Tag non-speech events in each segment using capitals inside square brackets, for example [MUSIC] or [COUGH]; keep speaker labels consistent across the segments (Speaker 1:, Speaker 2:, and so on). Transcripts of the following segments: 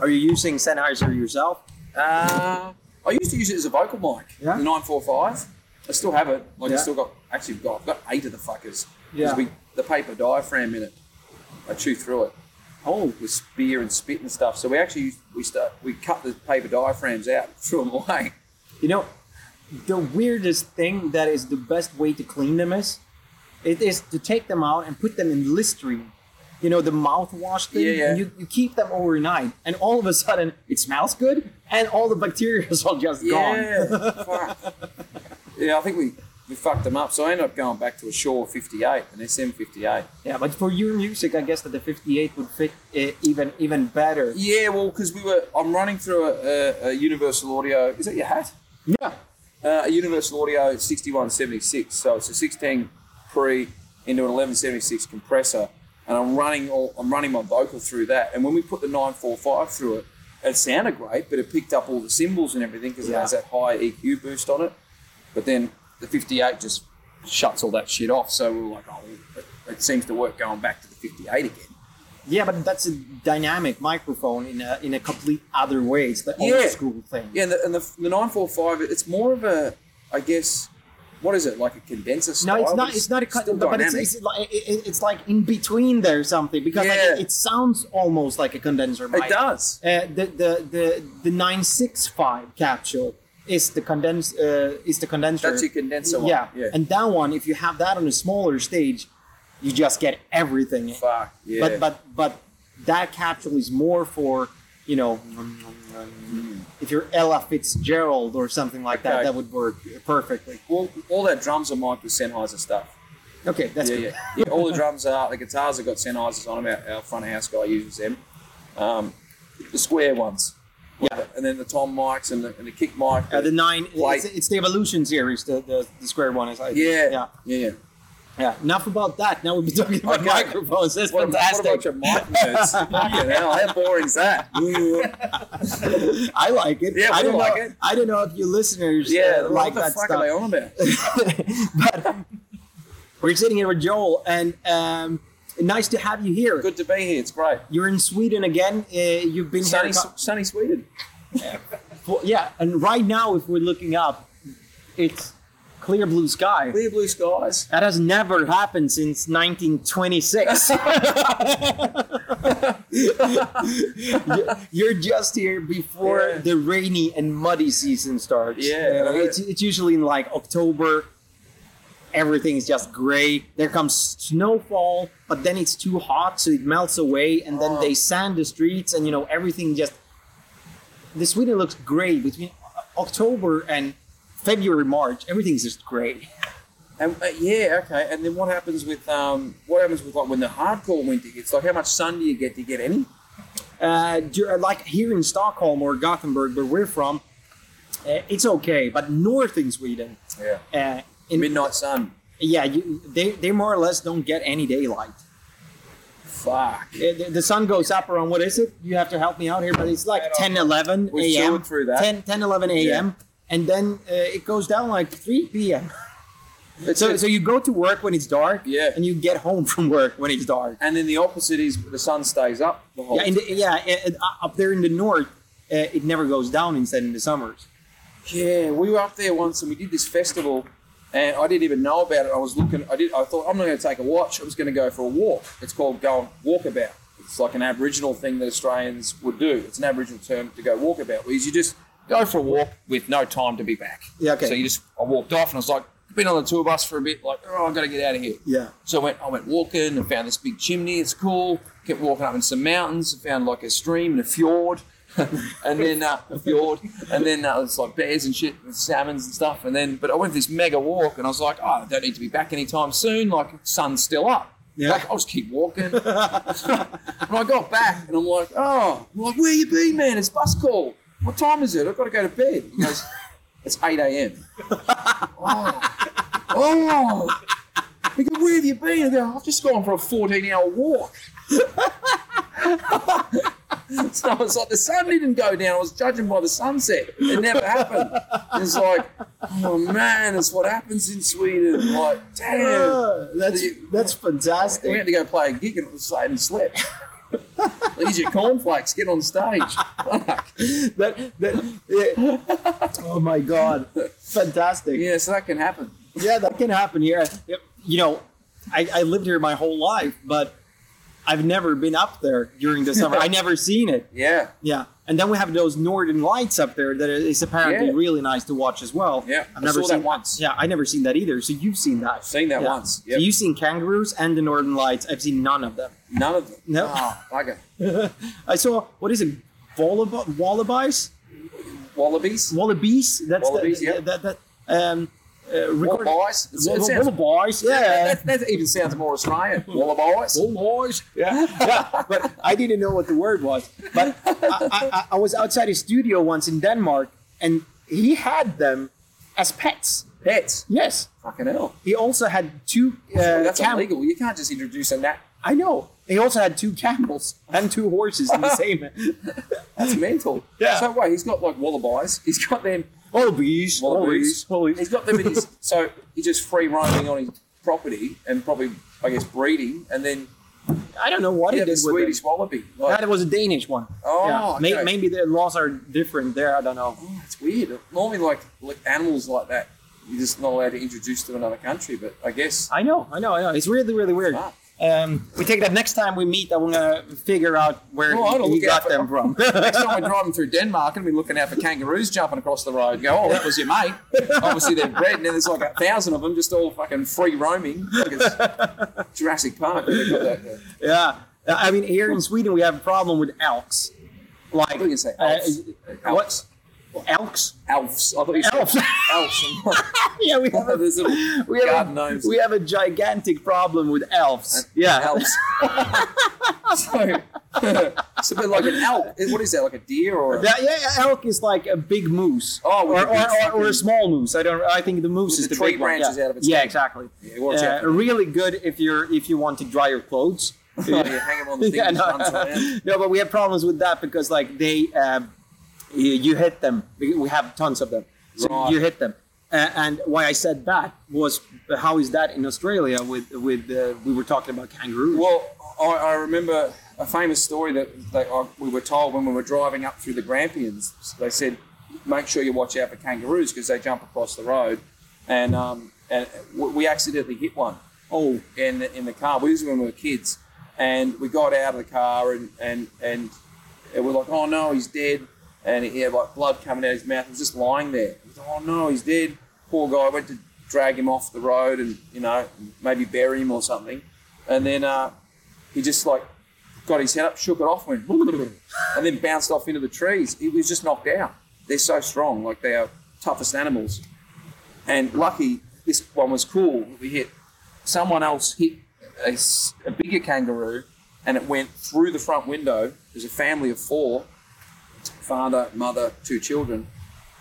Speaker 1: Are you using Sennheiser yourself?
Speaker 2: Uh, I used to use it as a vocal mic,
Speaker 1: Yeah.
Speaker 2: the 945. I still have it. Like,
Speaker 1: Yeah.
Speaker 2: I still got, actually, got, I've got eight of the fuckers. 'Cause
Speaker 1: Yeah.
Speaker 2: We, the paper diaphragm in it, I chew through it. Oh. With spear and spit and stuff. So we actually, used- we start, we cut the paper diaphragms out [LAUGHS] and threw them away.
Speaker 1: You know, the weirdest thing that is the best way to clean them is, it is to take them out and put them in Listerine. You know, the mouthwash thing.
Speaker 2: Yeah, yeah.
Speaker 1: And you, you keep them overnight, and all of a sudden it smells good, and all the bacteria [LAUGHS] is all just gone.
Speaker 2: Yeah, fuck. Yeah, I think we, we fucked them up. So I ended up going back to a Shaw 58, an SM 58.
Speaker 1: yeah, but for your music, I guess that the 58 would fit uh, even even better.
Speaker 2: Yeah, well, because we were, I'm running through a, a, a Universal Audio. Is that your hat?
Speaker 1: Yeah.
Speaker 2: Uh, a Universal Audio 6176. So it's a 16 pre into an 1176 compressor, and I'm running all I'm running my vocal through that. And when we put the 945 through it, it sounded great, but it picked up all the cymbals and everything because it
Speaker 1: Yeah.
Speaker 2: has that high EQ boost on it. But then the 58 just shuts all that shit off. So we were like, oh, well, it, it seems to work going back to the 58 again.
Speaker 1: Yeah, but that's a dynamic microphone in a in a complete other way. It's the old
Speaker 2: Yeah.
Speaker 1: school thing.
Speaker 2: Yeah, and the, and the, the 945, it's more of a, I guess, what is it like a condenser
Speaker 1: No,
Speaker 2: style?
Speaker 1: it's
Speaker 2: but
Speaker 1: not. It's not a cut,
Speaker 2: still
Speaker 1: but it's,
Speaker 2: dynamic.
Speaker 1: it's like it- it's like in between there or something because like,
Speaker 2: Yeah.
Speaker 1: it, it sounds almost like a condenser mic.
Speaker 2: It does.
Speaker 1: Uh, the the the the nine six five capsule is the condens uh, is the condenser.
Speaker 2: That's your condenser one.
Speaker 1: Yeah.
Speaker 2: Yeah.
Speaker 1: and that one, if you have that on a smaller stage, you just get everything. in.
Speaker 2: Fuck. Yeah.
Speaker 1: But but but that capsule is more for you know if you're Ella Fitzgerald or something like that,
Speaker 2: Okay.
Speaker 1: that would work perfectly.
Speaker 2: all, all their drums are mic'd with Sennheiser stuff.
Speaker 1: Okay, that's
Speaker 2: Yeah,
Speaker 1: good.
Speaker 2: yeah. yeah. All the drums are. The guitars have got Sennheisers on them. Our, our front house guy uses them. Um, the square ones.
Speaker 1: Yeah.
Speaker 2: And then the tom mics and the, and the kick mic.
Speaker 1: Uh, the nine,
Speaker 2: Like-
Speaker 1: it's, it's the evolution series, the, the, the square one is. I think.
Speaker 2: yeah.
Speaker 1: yeah,
Speaker 2: Yeah. Yeah.
Speaker 1: yeah. Enough about that. Now we'll be talking about
Speaker 2: Okay.
Speaker 1: microphones. That's
Speaker 2: What, a- what a
Speaker 1: fantastic.
Speaker 2: bunch of mic
Speaker 1: [LAUGHS]
Speaker 2: nerds. Fucking hell, how boring's that?
Speaker 1: uh, I like it.
Speaker 2: Yeah,
Speaker 1: I
Speaker 2: we
Speaker 1: don't
Speaker 2: like
Speaker 1: know.
Speaker 2: it.
Speaker 1: I don't know if you listeners
Speaker 2: yeah,
Speaker 1: uh, like
Speaker 2: what the
Speaker 1: that
Speaker 2: fuck
Speaker 1: stuff.
Speaker 2: are they on
Speaker 1: [LAUGHS]
Speaker 2: about?
Speaker 1: but we're sitting here with Joel, and um, nice to have you here.
Speaker 2: Good to be here. It's great.
Speaker 1: You're in Sweden again. Uh, you've been
Speaker 2: Sunny,
Speaker 1: here. a cou-
Speaker 2: sunny Sweden.
Speaker 1: Well, yeah, and right now, if we're looking up, it's clear blue sky.
Speaker 2: Clear blue skies.
Speaker 1: That has never happened since
Speaker 2: [LAUGHS]
Speaker 1: 1926. You- You're just here before
Speaker 2: Yeah.
Speaker 1: the rainy and muddy season starts.
Speaker 2: Yeah,
Speaker 1: Uh,
Speaker 2: and I heard-
Speaker 1: it's, it's usually in like October. Everything is just gray. There comes snowfall, but then it's too hot, so it melts away, and then
Speaker 2: Oh.
Speaker 1: they sand the streets, and you know everything just. The Sweden looks gray between October and February, March. Everything's just gray.
Speaker 2: And uh, yeah, okay. And then what happens with um, what happens with like when the hardcore winter hits? Like, how much sun do you get? Do you get any?
Speaker 1: uh, dur- like here in Stockholm or Gothenburg, where we're from, uh, it's okay. But north in Sweden,
Speaker 2: Yeah.
Speaker 1: uh, in,
Speaker 2: Midnight sun.
Speaker 1: yeah, you, they, they more or less don't get any daylight.
Speaker 2: Fuck.
Speaker 1: Uh, The, the sun goes up around, what is it? You have to help me out here, but it's like
Speaker 2: Man,
Speaker 1: 10, 11
Speaker 2: We're
Speaker 1: a.m.
Speaker 2: chewing through that.
Speaker 1: 10, 10, 11 a.m. And then uh, it goes down like 3 p.m.
Speaker 2: It's
Speaker 1: So,
Speaker 2: it's-
Speaker 1: so you go to work when it's dark,
Speaker 2: Yeah.
Speaker 1: and you get home from work when it's dark.
Speaker 2: and then the opposite is the sun stays up the whole.
Speaker 1: Yeah, in the, yeah, uh, uh, up there in the north, uh, it never goes down instead in the summers.
Speaker 2: Yeah, we were up there once and we did this festival, and I didn't even know about it. I was looking, I did, I thought I'm not going to take a watch. I'm just going to go for a walk. It's called going walkabout. It's like an Aboriginal thing that Australians would do. It's an Aboriginal term to go walkabout, where you just go for a walk with no time to be back.
Speaker 1: Yeah, okay.
Speaker 2: So you just, I walked off and I was like, been on the tour bus for a bit, like, oh, I've got to get out of here.
Speaker 1: Yeah.
Speaker 2: So I went, I went walking and found this big chimney. It's cool. Kept walking up in some mountains. Found like a stream and a fjord, [LAUGHS] and then uh, a fjord, and then uh, it's like bears and shit, and salmons and stuff. And then, but I went for this mega walk, and I was like, oh, I don't need to be back anytime soon. Like sun's still up.
Speaker 1: Yeah.
Speaker 2: Like I'll just keep walking. and I got back, and I'm like, oh, I'm like where you been, man? It's bus call. What time is it? I've got to go to bed. He goes, it's [LAUGHS] eight a.m. oh. oh. He goes, where have you been? I go, I've just gone for a 14 hour walk. [LAUGHS] so I was like, the sun didn't go down. I was judging by the sunset. It never happened. It's like, oh man, that's what happens in Sweden. Like, damn.
Speaker 1: Ah, that's
Speaker 2: You-
Speaker 1: that's
Speaker 2: We had
Speaker 1: fantastic.
Speaker 2: to go play a gig and it was late and slept. These are cornflakes. Get on stage. Fuck.
Speaker 1: that, that, yeah. oh my god, fantastic!
Speaker 2: Yeah, so that can happen.
Speaker 1: yeah, that can happen here. You know, I, I lived here my whole life, but I've never been up there during the summer. I never seen it.
Speaker 2: Yeah,
Speaker 1: Yeah, and then we have those northern lights up there that is apparently
Speaker 2: Yeah.
Speaker 1: really nice to watch as well.
Speaker 2: Yeah,
Speaker 1: I've
Speaker 2: I
Speaker 1: never
Speaker 2: saw
Speaker 1: seen
Speaker 2: that once.
Speaker 1: Yeah, I never seen that either. So you've seen that.
Speaker 2: seen that
Speaker 1: Yeah.
Speaker 2: once.
Speaker 1: So
Speaker 2: Yep.
Speaker 1: you've seen kangaroos and the northern lights. I've seen none of them.
Speaker 2: None of them.
Speaker 1: No.
Speaker 2: Ah, bugger.
Speaker 1: I saw what is it, wallaby, wallabies,
Speaker 2: Wallabies.
Speaker 1: wallabies. That's
Speaker 2: Wallabies,
Speaker 1: the,
Speaker 2: yeah.
Speaker 1: that that um. Uh, record-
Speaker 2: Wallabies. It
Speaker 1: Wall-
Speaker 2: sounds-
Speaker 1: Wallabies, yeah.
Speaker 2: That, that, that even sounds more
Speaker 1: [LAUGHS]
Speaker 2: Australian. Wallabies.
Speaker 1: Wallabies, yeah, yeah. But I didn't know what the word was. But I, I, I- I was outside his studio once in Denmark, and he had them as pets.
Speaker 2: Pets.
Speaker 1: Yes,
Speaker 2: Fucking hell.
Speaker 1: he also had two. Uh,
Speaker 2: That's
Speaker 1: cam-
Speaker 2: illegal. You can't just introduce a nat.
Speaker 1: I know. He also had two camels and two horses
Speaker 2: [LAUGHS]
Speaker 1: in the same. [LAUGHS]
Speaker 2: That's mental.
Speaker 1: Yeah.
Speaker 2: So wait, he's got like wallabies. He's got them.
Speaker 1: Wallabies, wallabies,
Speaker 2: He's
Speaker 1: wallabies.
Speaker 2: got them in his. So he's just free roaming on his property and probably, I guess, breeding. And then
Speaker 1: I don't know what
Speaker 2: he
Speaker 1: he
Speaker 2: had
Speaker 1: did
Speaker 2: a
Speaker 1: with them.
Speaker 2: Swedish wallaby. Like,
Speaker 1: That was a Danish one.
Speaker 2: Oh,
Speaker 1: May-
Speaker 2: okay.
Speaker 1: Maybe the laws are different there. I don't know.
Speaker 2: oh, it's weird. Normally, like, like animals like that, you're just not allowed to introduce to another country. But I guess ah.
Speaker 1: I know, I know, I know. It's really, really weird.
Speaker 2: Wow.
Speaker 1: Um, we take that next time we meet. I'm gonna figure out where
Speaker 2: No, Oh, I don't
Speaker 1: you
Speaker 2: look out
Speaker 1: got them from.
Speaker 2: [LAUGHS] Next
Speaker 1: [LAUGHS]
Speaker 2: time we're driving through Denmark and we're looking out for kangaroos jumping across the road, go, oh, that was your mate. Obviously, they're bred, and then there's like a thousand of them just all fucking free roaming. Like
Speaker 1: [LAUGHS]
Speaker 2: it's Jurassic Park. They've got that, uh,
Speaker 1: yeah, I mean, here in Sweden we have a problem with elks. Like,
Speaker 2: What do you say?
Speaker 1: uh, what?
Speaker 2: Elves?
Speaker 1: Elks?
Speaker 2: Elves. I thought you said
Speaker 1: Elves. [LAUGHS]
Speaker 2: elves. [LAUGHS] I'm like,
Speaker 1: Yeah, we have a,
Speaker 2: There's a little
Speaker 1: we have
Speaker 2: garden
Speaker 1: a,
Speaker 2: gnomes.
Speaker 1: we have a gigantic problem with elves. Yeah, [LAUGHS]
Speaker 2: Elves. so, [LAUGHS] it's a bit like an elk. What is that? Like a deer or? A,
Speaker 1: Yeah, yeah, yeah, elk is like a big moose.
Speaker 2: Oh,
Speaker 1: or,
Speaker 2: with
Speaker 1: or,
Speaker 2: the big
Speaker 1: or, or a
Speaker 2: fucking-
Speaker 1: small moose. I don't. I think the moose
Speaker 2: With
Speaker 1: is
Speaker 2: the
Speaker 1: the,
Speaker 2: tree
Speaker 1: big one,
Speaker 2: branches
Speaker 1: yeah.
Speaker 2: out of its
Speaker 1: Yeah,
Speaker 2: head.
Speaker 1: exactly.
Speaker 2: Yeah,
Speaker 1: Uh,
Speaker 2: watch out for that.
Speaker 1: really good if you're if you want to dry your
Speaker 2: [LAUGHS]
Speaker 1: clothes.
Speaker 2: you hang 'em on the
Speaker 1: [LAUGHS]
Speaker 2: thing
Speaker 1: Yeah,
Speaker 2: and
Speaker 1: no,
Speaker 2: runs around.
Speaker 1: no, but we had problems with that because like they, um, you, you hit them. We we have tons of them, so
Speaker 2: Right.
Speaker 1: you hit them. Uh, and why I said that was how is that in Australia with with uh, we were talking about kangaroos.
Speaker 2: Well, I, I remember a famous story that, that I, we were told when we were driving up through the Grampians. They said, make sure you watch out for kangaroos because they jump across the road. And, um, and we we accidentally hit one
Speaker 1: oh,
Speaker 2: in the, in the car. We was when we were kids, and we got out of the car and and and it was like, oh no, he's dead, and he had like blood coming out of his mouth. He was just lying there. It was, oh no, he's dead. Poor guy. Went to drag him off the road and you know maybe bury him or something, and then uh, he just like got his head up, shook it off, went [LAUGHS] and then bounced off into the trees. He was just knocked out. They're so strong, like they are toughest animals. And lucky, this one was cool. We hit someone else hit a, s- a bigger kangaroo, and it went through the front window. There's a family of four, father, mother, two children,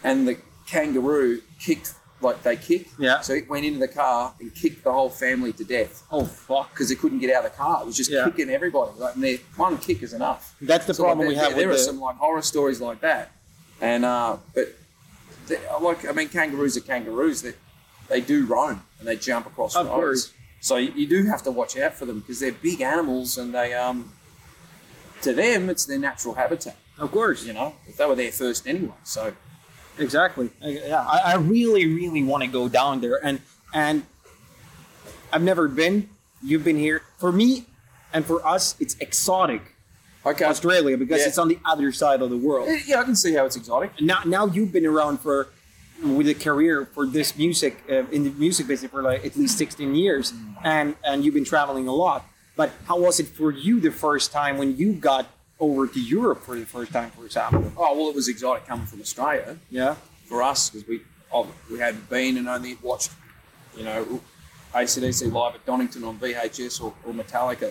Speaker 2: and the kangaroo kicked like they kicked.
Speaker 1: Yeah.
Speaker 2: So it went into the car and kicked the whole family to death
Speaker 1: oh fuck!
Speaker 2: because they couldn't get out of the car. It was just
Speaker 1: Yeah.
Speaker 2: kicking everybody. Like, and their one kick is enough.
Speaker 1: That's the
Speaker 2: like,
Speaker 1: problem we
Speaker 2: there-
Speaker 1: have
Speaker 2: There,
Speaker 1: with
Speaker 2: are
Speaker 1: the-
Speaker 2: some like horror stories like that, and uh, but they, like I mean, kangaroos are kangaroos. That they, do roam and they jump across
Speaker 1: Of
Speaker 2: roads.
Speaker 1: course.
Speaker 2: So you, you do have to watch out for them because they're big animals and they um to them it's their natural habitat.
Speaker 1: Of course.
Speaker 2: You know, if they were there first anyway. So
Speaker 1: Exactly. I- Yeah, I, I really, really want to go down there, and and I've never been. You've been here for me, and for us, it's exotic
Speaker 2: okay,
Speaker 1: Australia because
Speaker 2: Yeah.
Speaker 1: it's on the other side of the world.
Speaker 2: yeah, I can see how it's exotic.
Speaker 1: Now, now you've been around for with a career for this music uh, in the music business for like at least 16 years, and and you've been traveling a lot. But how was it for you the first time when you got over to Europe for the first time, for example?
Speaker 2: Oh well, it was exotic coming from Australia.
Speaker 1: Yeah.
Speaker 2: for us because we oh, we hadn't been and only watched, you know, ACDC live at Donington on VHS or, or Metallica,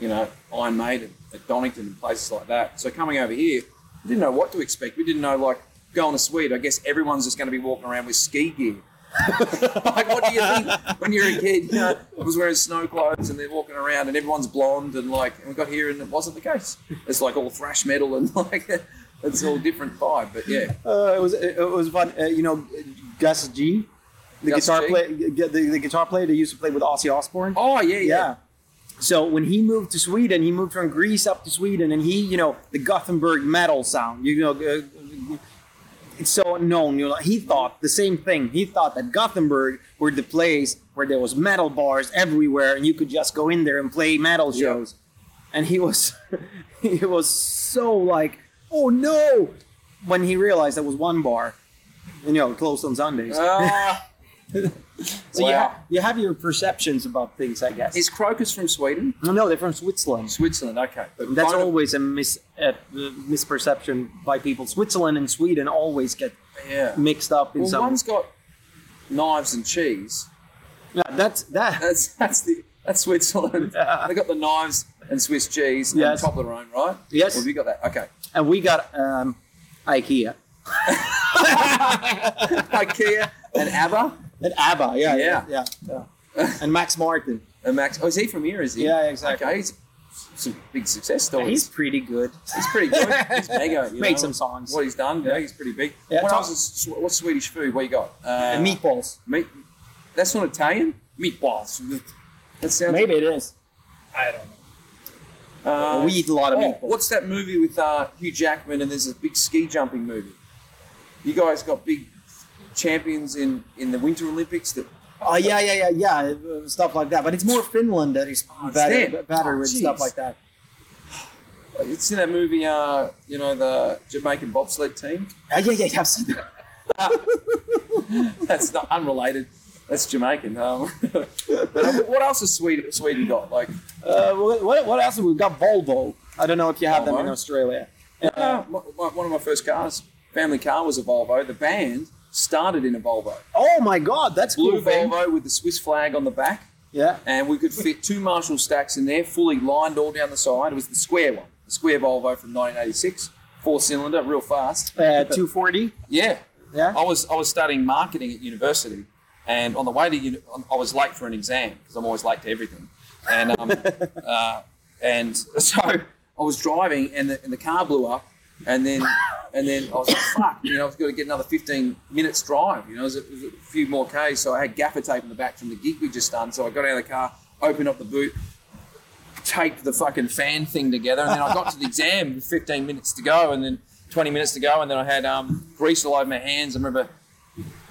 Speaker 2: you know, Iron Maiden at Donington and places like that. So coming over here, we didn't know what to expect. We didn't know like going to Sweden. I guess everyone's just going to be walking around with ski gear. [LAUGHS] like what do you think when you're a kid? You know, I was wearing snow clothes and they're walking around and everyone's blonde and like and we got here and it wasn't the case. It's like all thrash metal and [LAUGHS] like it's all different vibe. But yeah,
Speaker 1: Uh, it was it, it was fun. Uh, you know, Gus G, the
Speaker 2: Gus
Speaker 1: guitar
Speaker 2: G?
Speaker 1: play, the, the guitar player that used to play with Ozzy Osbourne.
Speaker 2: oh yeah.
Speaker 1: yeah. So when he moved to Sweden, he moved from Greece up to Sweden, and he, you know, the Gothenburg metal sound, you know, uh, it's so known. You know, he thought the same thing. He thought that Gothenburg were the place where there was metal bars everywhere, and you could just go in there and play metal
Speaker 2: Yeah.
Speaker 1: shows. And he was, [LAUGHS] he was so like, oh no, when he realized there was one bar, you know, closed on Sundays.
Speaker 2: [LAUGHS] Ah,
Speaker 1: [LAUGHS] so you,
Speaker 2: wow.
Speaker 1: ha- you have your perceptions about things, I guess.
Speaker 2: is Crocus from Sweden?
Speaker 1: no, they're from Switzerland.
Speaker 2: Switzerland, okay. But
Speaker 1: That's
Speaker 2: kind of-
Speaker 1: always a mis uh, misperception by people. Switzerland and Sweden always get
Speaker 2: yeah.
Speaker 1: mixed up in
Speaker 2: Well,
Speaker 1: some.
Speaker 2: one's got knives and cheese.
Speaker 1: Yeah, that's that.
Speaker 2: That's that's the that's Switzerland.
Speaker 1: [LAUGHS] Yeah.
Speaker 2: They got the knives and Swiss cheese and
Speaker 1: Yes.
Speaker 2: Toblerone, right?
Speaker 1: Yes.
Speaker 2: Well, have you got that? Okay.
Speaker 1: And we got um,
Speaker 2: [LAUGHS]
Speaker 1: IKEA
Speaker 2: IKEA and ABBA
Speaker 1: and ABBA. Yeah,
Speaker 2: Yeah.
Speaker 1: yeah, yeah, yeah. and Max Martin.
Speaker 2: and Max. Oh, is he from here? Is he?
Speaker 1: Yeah, exactly.
Speaker 2: Okay. He's some big success
Speaker 1: Yeah,
Speaker 2: story.
Speaker 1: he's pretty good.
Speaker 2: He's pretty
Speaker 1: [LAUGHS]
Speaker 2: good. He's mega. You
Speaker 1: Made
Speaker 2: know,
Speaker 1: some songs.
Speaker 2: What he's done, yeah, he's pretty big.
Speaker 1: Yeah,
Speaker 2: what
Speaker 1: Tom-
Speaker 2: else is Sw- what's Swedish food? What you got? Uh,
Speaker 1: And meatballs.
Speaker 2: Meat. That's not Italian. Meatballs. That sounds.
Speaker 1: Maybe it is.
Speaker 2: I don't know. Uh,
Speaker 1: we eat a lot of
Speaker 2: oh,
Speaker 1: meatballs.
Speaker 2: what's that movie with uh, Hugh Jackman and there's a big ski jumping movie? You guys got big champions in, in the Winter Olympics that
Speaker 1: Oh yeah, yeah, yeah, yeah, uh, stuff like that. But it's more Finland that is
Speaker 2: Oh, it's
Speaker 1: better,
Speaker 2: them.
Speaker 1: better with
Speaker 2: Oh,
Speaker 1: stuff
Speaker 2: jeez.
Speaker 1: like that.
Speaker 2: it's in that movie, uh, you know, the Jamaican bobsled team. [LAUGHS]
Speaker 1: Uh, yeah, yeah, yeah. I've seen that.
Speaker 2: That's not unrelated. That's Jamaican. [LAUGHS] Um, but uh, what else has Sweden, Sweden got? Like,
Speaker 1: Uh, what, what- what else? We got Volvo. I don't know if you have them in
Speaker 2: Volvo?
Speaker 1: Australia.
Speaker 2: uh, my, my, one of my first cars, family car, was a Volvo. The band started in a Volvo,
Speaker 1: Oh my God, that's
Speaker 2: blue
Speaker 1: cool. thing.
Speaker 2: Volvo with the Swiss flag on the back.
Speaker 1: Yeah.
Speaker 2: and we could fit two Marshall stacks in there, fully lined all down the side. It was the square one, the square Volvo from 1986, four cylinder, real fast.
Speaker 1: Uh, 240.
Speaker 2: Yeah,
Speaker 1: Yeah.
Speaker 2: I was I was studying marketing at university, and on the way to uni- I was late for an exam because I'm always late to everything, and um, uh, and so I was driving, and the, and the car blew up, and then and then I was like, fuck, you know, I've got to get another 15 minutes drive, you know, it was a, it was a few more k's, so I had gaffer tape in the back from the gig we just done, so I got out of the car, opened up the boot. Taped the fucking fan thing together, and then I got to the exam with 15 minutes to go, and then 20 minutes to go, and then I had um, grease all over my hands. I remember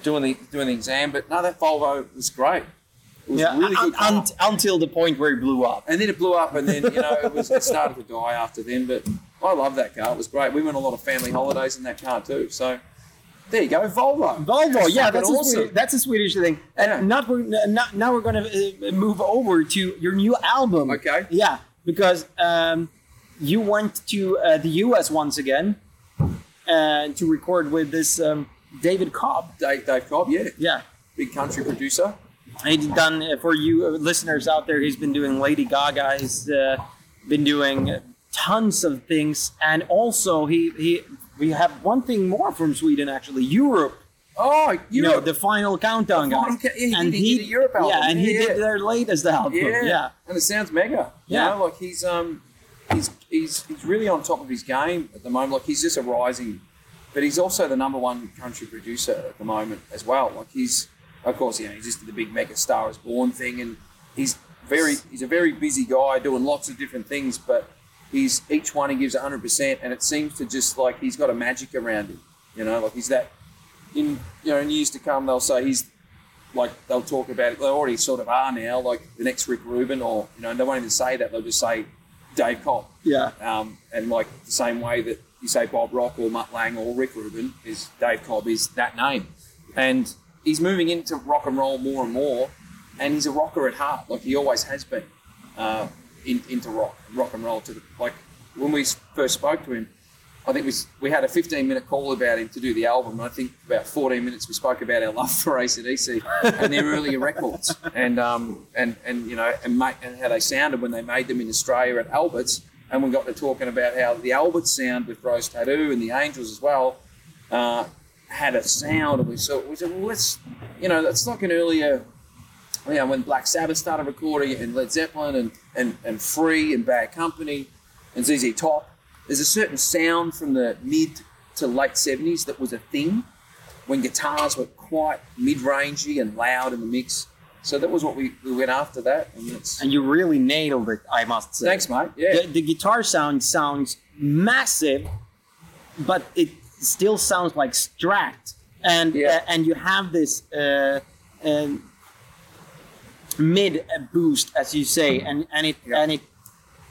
Speaker 2: doing the doing the exam, but no, that Volvo was great. It was
Speaker 1: Yeah,
Speaker 2: really
Speaker 1: un-
Speaker 2: good. car.
Speaker 1: un- until the point where it blew up.
Speaker 2: and then it blew up, and then you know it was it started to die after then. But I love that car; it was great. We went on a lot of family holidays in that car too. So there you go, Volvo.
Speaker 1: Volvo, yeah,
Speaker 2: Fucking
Speaker 1: that's a, Swedish, that's a Swedish thing. And
Speaker 2: Yeah.
Speaker 1: not, we're, not now we're gonna uh, move over to your new album.
Speaker 2: Okay.
Speaker 1: Yeah, because um, you went to uh, the U.S. once again uh, to record with this um, David Cobb.
Speaker 2: Dave, Dave Cobb, yeah,
Speaker 1: Yeah,
Speaker 2: big country producer.
Speaker 1: he's done uh, for you uh, listeners out there. He's been doing Lady Gaga. He's uh, been doing tons of things, and also he he we have one thing more from Sweden actually, Europe.
Speaker 2: Oh,
Speaker 1: you
Speaker 2: you
Speaker 1: know the final countdown
Speaker 2: The
Speaker 1: guy.
Speaker 2: final ca- yeah, he did- he did a Europe album.
Speaker 1: Yeah, and he
Speaker 2: Yeah,
Speaker 1: did
Speaker 2: yeah.
Speaker 1: their latest album.
Speaker 2: yeah.
Speaker 1: Yeah,
Speaker 2: and it sounds mega.
Speaker 1: Yeah.
Speaker 2: you know, like he's um, he's he's he's really on top of his game at the moment. Like he's just a rising, but he's also the number one country producer at the moment as well. Like he's, of course, you know, he just did the big mega star is born thing, and he's very he's a very busy guy doing lots of different things, but. He's each one he gives 100%, and it seems to just like he's got a magic around him, you know, like he's that in you know in years to come they'll say he's like they'll talk about it. They already sort of are now, like the next Rick Rubin, or you know they won't even say that. They'll just say Dave Cobb,
Speaker 1: yeah.
Speaker 2: um, and like the same way that you say Bob Rock or Mutt Lang or Rick Rubin is Dave Cobb is that name, and he's moving into rock and roll more and more, and he's a rocker at heart, like he always has been, uh, in, into rock rock and roll. To the, like when we first spoke to him, I think we, we had a 15 minute call about him to do the album. And I think about 14 minutes we spoke about our love for ACDC and their earlier records and, um, and, and, you know, and, ma- and how they sounded when they made them in Australia at Albert's. And we got to talking about how the Albert's sound with Rose Tattoo and the Angels as well uh, had a sound. And we, saw, we said, well, let's, you know, that's like an earlier you know, when Black Sabbath started recording and Led Zeppelin and, and, and Free and Bad Company and ZZ Top, there's a certain sound from the mid to late 70s that was a thing when guitars were quite mid rangey and loud in the mix. So that was what we, we went after that. And it's,
Speaker 1: And you really nailed it, I must say.
Speaker 2: thanks, mate. Yeah.
Speaker 1: The, the guitar sound sounds massive, but it still sounds like Strat. And
Speaker 2: Yeah.
Speaker 1: uh, and you have this uh, um, mid boost, as you say, and and it
Speaker 2: Yeah.
Speaker 1: and it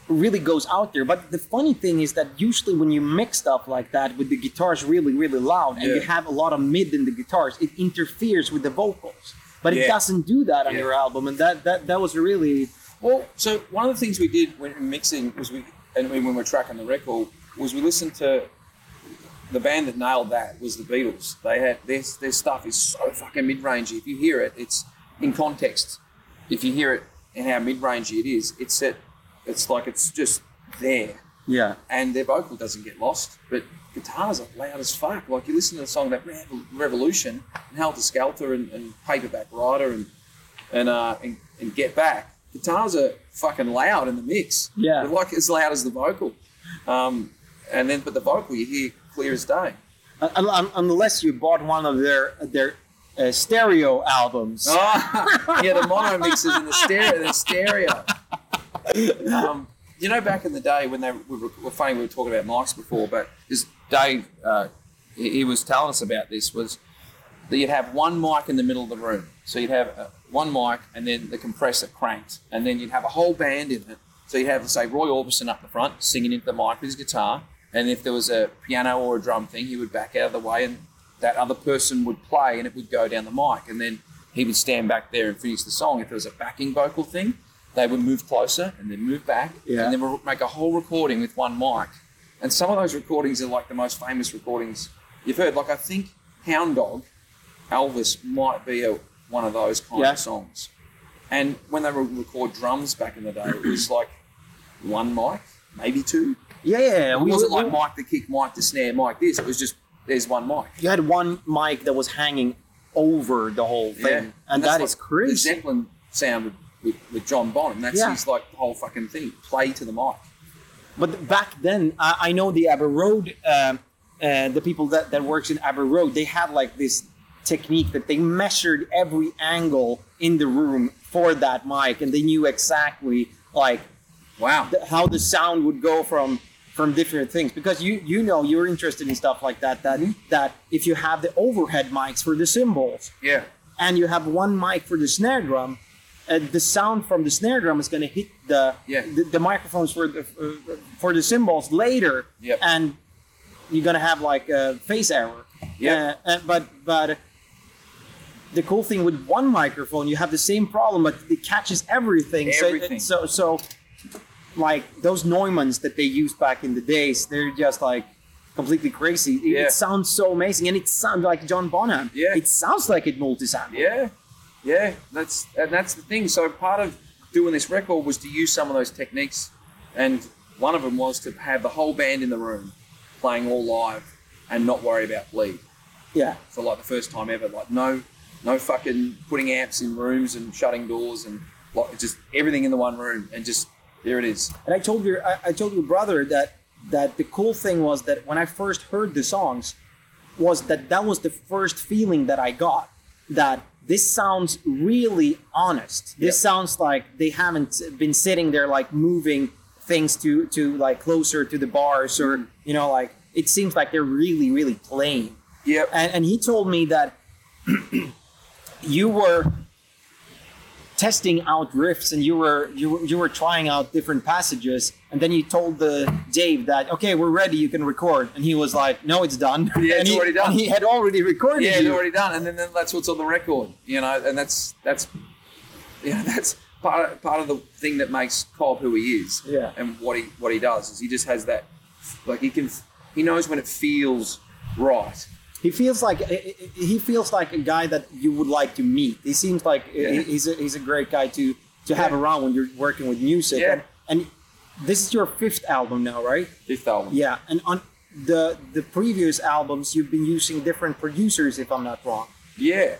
Speaker 1: really goes out there. But the funny thing is that usually when you mix stuff like that with the guitars really really loud, and you
Speaker 2: Yeah.
Speaker 1: have a lot of mid in the guitars, it interferes with the vocals. But it
Speaker 2: Yeah.
Speaker 1: doesn't do that on
Speaker 2: Yeah.
Speaker 1: your album, and that that that was really
Speaker 2: Well, so one of the things we did when mixing was we, and when we were tracking the record, was we listened to the band that nailed that was the Beatles. They had their their stuff is so fucking mid rangey. If you hear it, it's in context. If you hear it and how mid rangey it is, it's at, it's like it's just there,
Speaker 1: yeah.
Speaker 2: and their vocal doesn't get lost. But guitars are loud as fuck. Like you listen to the song about Rev- Revolution and Helter Skelter and, and Paperback Rider and and, uh, and and Get Back. Guitars are fucking loud in the mix.
Speaker 1: Yeah.
Speaker 2: They're like as loud as the vocal. Um, and then, but the vocal you hear clear as day. [LAUGHS]
Speaker 1: Un- un- unless you bought one of their their uh, stereo albums.
Speaker 2: Ah, yeah, the mono mixes and the stereo. The stereo. Um, you know, back in the day when they we were, were funny, we were talking about mics before, but this Dave, uh, he, he was telling us about this was that you'd have one mic in the middle of the room, so you'd have uh, one mic and then the compressor cranked, and then you'd have a whole band in it. So you'd have, say, Roy Orbison up the front singing into the mic with his guitar, and if there was a piano or a drum thing, he would back out of the way, and that other person would play, and it would go down the mic, and then he would stand back there and finish the song. If there was a backing vocal thing, they would move closer and then move back,
Speaker 1: Yeah.
Speaker 2: and then we'll make a whole recording with one mic. And some of those recordings are like the most famous recordings you've heard. Like I think Hound Dog, Elvis might be a, one of those kind
Speaker 1: Yeah.
Speaker 2: of songs. And when they would record drums back in the day,
Speaker 1: [CLEARS THROAT]
Speaker 2: it was like one mic, maybe two.
Speaker 1: yeah, yeah, yeah.
Speaker 2: It
Speaker 1: We,
Speaker 2: wasn't
Speaker 1: we-
Speaker 2: like mic the kick, mic the snare, mic this. It was just there's one mic.
Speaker 1: you had one mic that was hanging over the whole thing, and,
Speaker 2: that's
Speaker 1: that is
Speaker 2: like The
Speaker 1: crazy.
Speaker 2: Zeppelin sound with, with, with John Bonham. That's
Speaker 1: Yeah.
Speaker 2: his like the whole fucking thing. Play to the mic.
Speaker 1: But back then, I, I know the Abbey Road, um, uh, the people that that works in Abbey Road, they had like this technique that they measured every angle in the room for that mic, and they knew exactly like
Speaker 2: Wow.
Speaker 1: th- how the sound would go from from different things because you you know you're interested in stuff like that that
Speaker 2: Mm-hmm.
Speaker 1: that if you have the overhead mics for the cymbals
Speaker 2: yeah.
Speaker 1: and you have one mic for the snare drum uh, the sound from the snare drum is going to hit the,
Speaker 2: Yeah.
Speaker 1: the the microphones for the uh, for the cymbals later
Speaker 2: Yep.
Speaker 1: and you're going to have like a phase error
Speaker 2: Yeah.
Speaker 1: Uh, uh, but but the cool thing with one microphone you have the same problem but it catches everything, So-
Speaker 2: Everything.
Speaker 1: so so like those Neumanns that they used back in the days, they're just like completely crazy. It,
Speaker 2: Yeah.
Speaker 1: it sounds so amazing, and it sounds like John Bonham.
Speaker 2: Yeah.
Speaker 1: It sounds like it multi-sampled.
Speaker 2: Yeah, yeah. That's and that's the thing. So part of doing this record was to use some of those techniques, and one of them was to have the whole band in the room playing all live and not worry about bleed
Speaker 1: Yeah.
Speaker 2: for like the first time ever. Like no, no fucking putting amps in rooms and shutting doors and like just everything in the one room and just there it is.
Speaker 1: And I told your I, I told your brother that that the cool thing was that when I first heard the songs, was that that was the first feeling that I got that this sounds really honest. This
Speaker 2: Yeah.
Speaker 1: sounds like they haven't been sitting there like moving things to to like closer to the bars or you know like it seems like they're really really playing.
Speaker 2: Yep.
Speaker 1: And, and he told me that [CLEARS THROAT] you were testing out riffs and you were you, were- you were trying out different passages and then you told the Dave that okay we're ready you can record and he was like no it's done
Speaker 2: Yeah,
Speaker 1: and
Speaker 2: it's
Speaker 1: he,
Speaker 2: already done.
Speaker 1: and he had already recorded
Speaker 2: Yeah,
Speaker 1: you.
Speaker 2: it's already done, and then, then that's what's on the record, you know, and that's that's [LAUGHS] yeah, that's part of, part of the thing that makes Cobb who he is,
Speaker 1: Yeah.
Speaker 2: and what he what he does is he just has that like he can he knows when it feels right.
Speaker 1: he feels like eh, he feels like a guy that you would like to meet he seems like eh,
Speaker 2: Yeah.
Speaker 1: he's, a, he's a great guy to to have
Speaker 2: Yeah.
Speaker 1: around when you're working with music
Speaker 2: Yeah.
Speaker 1: and, and this is your fifth album now right
Speaker 2: Fifth album,
Speaker 1: Yeah, and on the the previous albums, you've been using different producers, if I'm not wrong.
Speaker 2: yeah,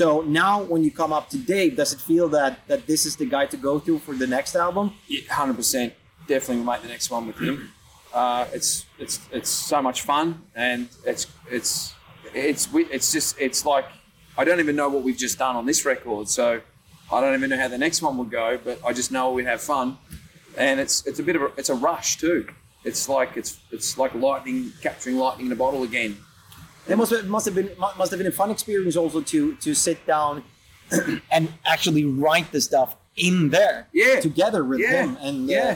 Speaker 1: So now, when you come up to Dave, does it feel that that this is the guy to go to for the next album?
Speaker 2: hundred percent, definitely we'll make the next one with him. Uh, it's it's it's so much fun, and it's it's it's we- it's just it's like I don't even know what we've just done on this record, so I don't even know how the next one would go, but I just know we'd have fun. And it's it's a bit of a, it's a rush too. It's like it's it's like lightning capturing lightning in a bottle again.
Speaker 1: That must have, must have been mu- must have been a fun experience also to to sit down [CLEARS THROAT] and actually write the stuff in there
Speaker 2: Yeah.
Speaker 1: together with
Speaker 2: Yeah.
Speaker 1: them and uh,
Speaker 2: Yeah.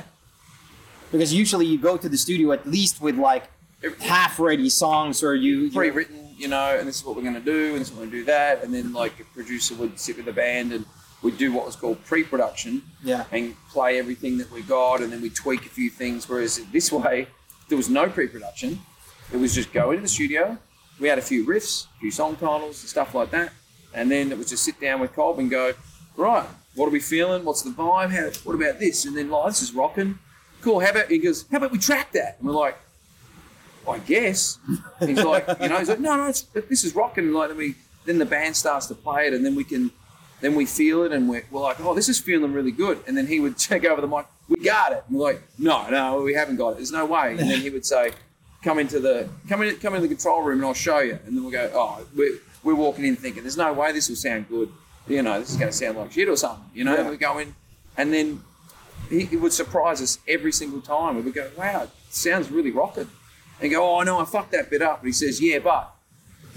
Speaker 1: because usually you go to the studio at least with like
Speaker 2: Every-
Speaker 1: half ready songs or you, you
Speaker 2: pre-written, you know, and this is what we're going to do, and this is what we're going to do that, and then like a producer would sit with the band and we'd do what was called pre-production
Speaker 1: yeah
Speaker 2: and play everything that we got, and then we tweak a few things. Whereas this way, there was no pre-production; it was just go into the studio. We had a few riffs, a few song titles, and stuff like that, and then it was just sit down with Cobb and go, right, what are we feeling? What's the vibe? How, what about this? And then like this is rocking. Cool. How about he goes? How about we track that? And we're like. I guess. And he's like, you know, he's like, no, no, it's, this is rocking. And like, then we, then the band starts to play it, and then we can, then we feel it, and we're, we're like, oh, this is feeling really good. And then he would [LAUGHS] check over the mic, we got it. And we're like, no, no, we haven't got it. There's no way. And then he would say, come into the, come in, come into the control room, and I'll show you. And then we'll go, oh, we're, we're walking in thinking, there's no way this will sound good. You know, this is going to sound like shit or something. You know,
Speaker 1: Yeah.
Speaker 2: we go in, and then he, he would surprise us every single time. We would go, wow, it sounds really rocking. And go, oh, no, I fucked that bit up. And he says, yeah, but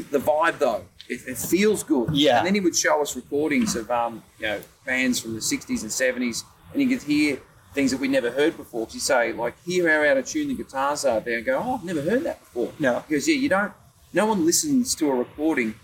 Speaker 2: the vibe, though, it, it feels good.
Speaker 1: Yeah.
Speaker 2: And then he would show us recordings of, um, you know, bands from the 60s and 70s. And you could hear things that we never heard before. Because you say, like, hear how out of tune the guitars are there. And go, oh, I've never heard that before.
Speaker 1: No.
Speaker 2: He goes, yeah, you don't, no one listens to a recording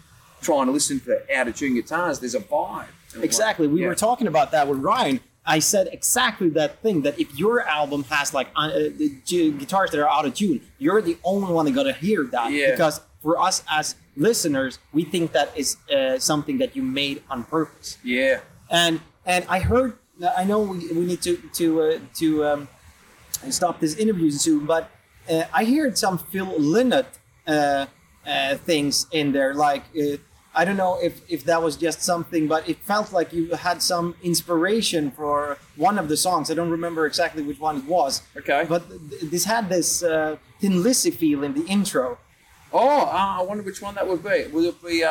Speaker 2: trying to listen for out of tune guitars. There's a vibe. And we're like,
Speaker 1: Exactly. We
Speaker 2: "Yeah."
Speaker 1: were talking about that with Ryan. I said exactly that thing that if your album has like uh, uh, the gu- guitars that are out of tune, you're the only one that got to hear that.
Speaker 2: Yeah.
Speaker 1: Because for us as listeners, we think that is uh, something that you made on purpose.
Speaker 2: Yeah.
Speaker 1: And and I heard, I know we, we need to to uh, to um, stop this interview soon, but uh, I heard some Phil Lynott uh, uh, things in there. Like uh, I don't know if if that was just something, but it felt like you had some inspiration for one of the songs. I don't remember exactly which one it was.
Speaker 2: Okay.
Speaker 1: But th- this had this uh, Thin Lizzy feel in the intro.
Speaker 2: Oh, uh, I wonder which one that would be. Would it be? Uh,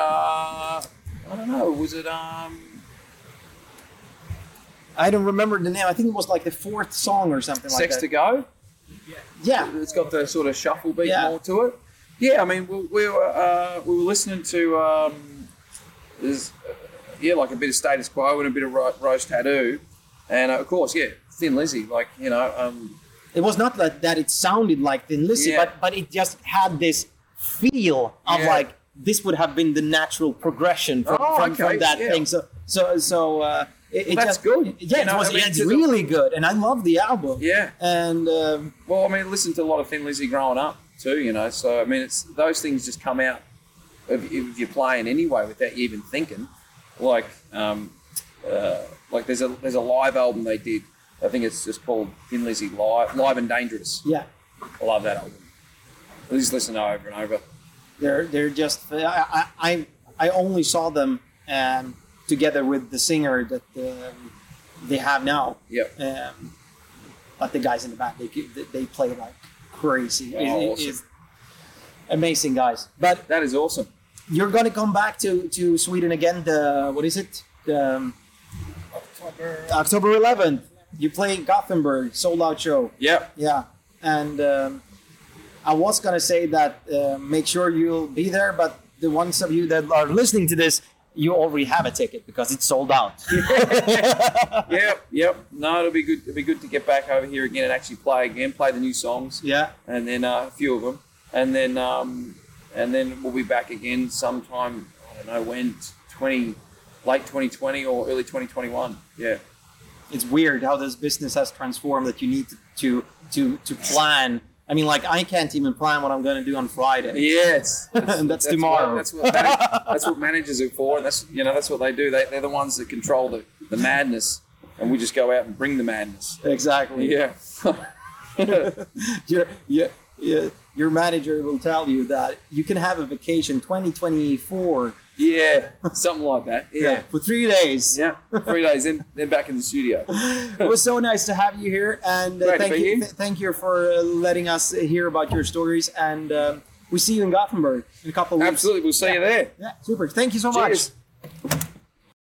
Speaker 2: I don't know. Was it? Um,
Speaker 1: I don't remember the name. I think it was like the fourth song or something
Speaker 2: Sex to
Speaker 1: like that.
Speaker 2: Go?
Speaker 1: Yeah.
Speaker 2: It's got the sort of shuffle beat
Speaker 1: Yeah.
Speaker 2: more to it. Yeah, I mean, we, we were uh, we were listening to um, there's, uh, yeah, like a bit of Status Quo and a bit of Ro- Rose Tattoo, and uh, of course, yeah, Thin Lizzy. Like you know, um,
Speaker 1: it was not that, that it sounded like Thin Lizzy,
Speaker 2: Yeah.
Speaker 1: but but it just had this feel of
Speaker 2: Yeah.
Speaker 1: like this would have been the natural progression from,
Speaker 2: Oh,
Speaker 1: from,
Speaker 2: okay,
Speaker 1: from that
Speaker 2: yeah.
Speaker 1: thing. So so so uh, it, it
Speaker 2: Well, that's
Speaker 1: just
Speaker 2: good.
Speaker 1: Yeah,
Speaker 2: You
Speaker 1: it
Speaker 2: know,
Speaker 1: was
Speaker 2: I mean,
Speaker 1: it's
Speaker 2: to the-
Speaker 1: really good, and I love the album.
Speaker 2: yeah.
Speaker 1: and um,
Speaker 2: Well, I mean, I listened to a lot of Thin Lizzy growing up too, you know. So I mean, it's those things just come out if, if you're playing anyway without you even thinking. Like, um, uh, like there's a there's a live album they did. I think it's just called Thin Lizzy Live, Live and Dangerous.
Speaker 1: yeah,
Speaker 2: I love that album. I just listen to it over and over.
Speaker 1: they're they're just I I I, I only saw them um, together with the singer that um, they have now.
Speaker 2: Yeah.
Speaker 1: Um, but the guys in the back, they they play like crazy.
Speaker 2: Oh,
Speaker 1: It- it-
Speaker 2: awesome.
Speaker 1: it's amazing guys. But
Speaker 2: That is awesome.
Speaker 1: you're gonna come back to to Sweden again. The what is it? The, um, October 11th. You play Gothenburg sold out show.
Speaker 2: Yeah.
Speaker 1: [LAUGHS] Yeah, and um, I was gonna say that uh, make sure you'll be there, but the ones of you that are listening to this, you already have a ticket because it's sold out.
Speaker 2: Yep. Yep. No, it'll be good. It'll be good to get back over here again and actually play again, play the new songs.
Speaker 1: yeah.
Speaker 2: and then uh, a few of them, and then um, and then we'll be back again sometime. I don't know when, twenty, late twenty twenty or early twenty twenty one. Yeah,
Speaker 1: it's weird how this business has transformed that you need to to to, to plan i mean like i can't even plan what i'm going to do on friday [LAUGHS]
Speaker 2: yeah, it's,
Speaker 1: And that's tomorrow.
Speaker 2: What, [LAUGHS] that's what
Speaker 1: [LAUGHS]
Speaker 2: manag- that's what managers are for. And that's you know that's what they do. They they're the ones that control the, the madness, and we just go out and bring the madness.
Speaker 1: exactly
Speaker 2: Yeah,
Speaker 1: your, your, your, your manager will tell you that you can have a vacation 2024
Speaker 2: yeah, something like that. Yeah,
Speaker 1: for three days
Speaker 2: yeah. Three days, then then back in the studio.
Speaker 1: it was so nice to have you here and
Speaker 2: Great
Speaker 1: uh,
Speaker 2: to
Speaker 1: thank
Speaker 2: be
Speaker 1: you
Speaker 2: here.
Speaker 1: th- thank you for uh, letting us hear about your stories and um, we see you in gothenburg in a couple of weeks
Speaker 2: Absolutely, we'll see you there.
Speaker 1: yeah super thank you so much
Speaker 2: Cheers.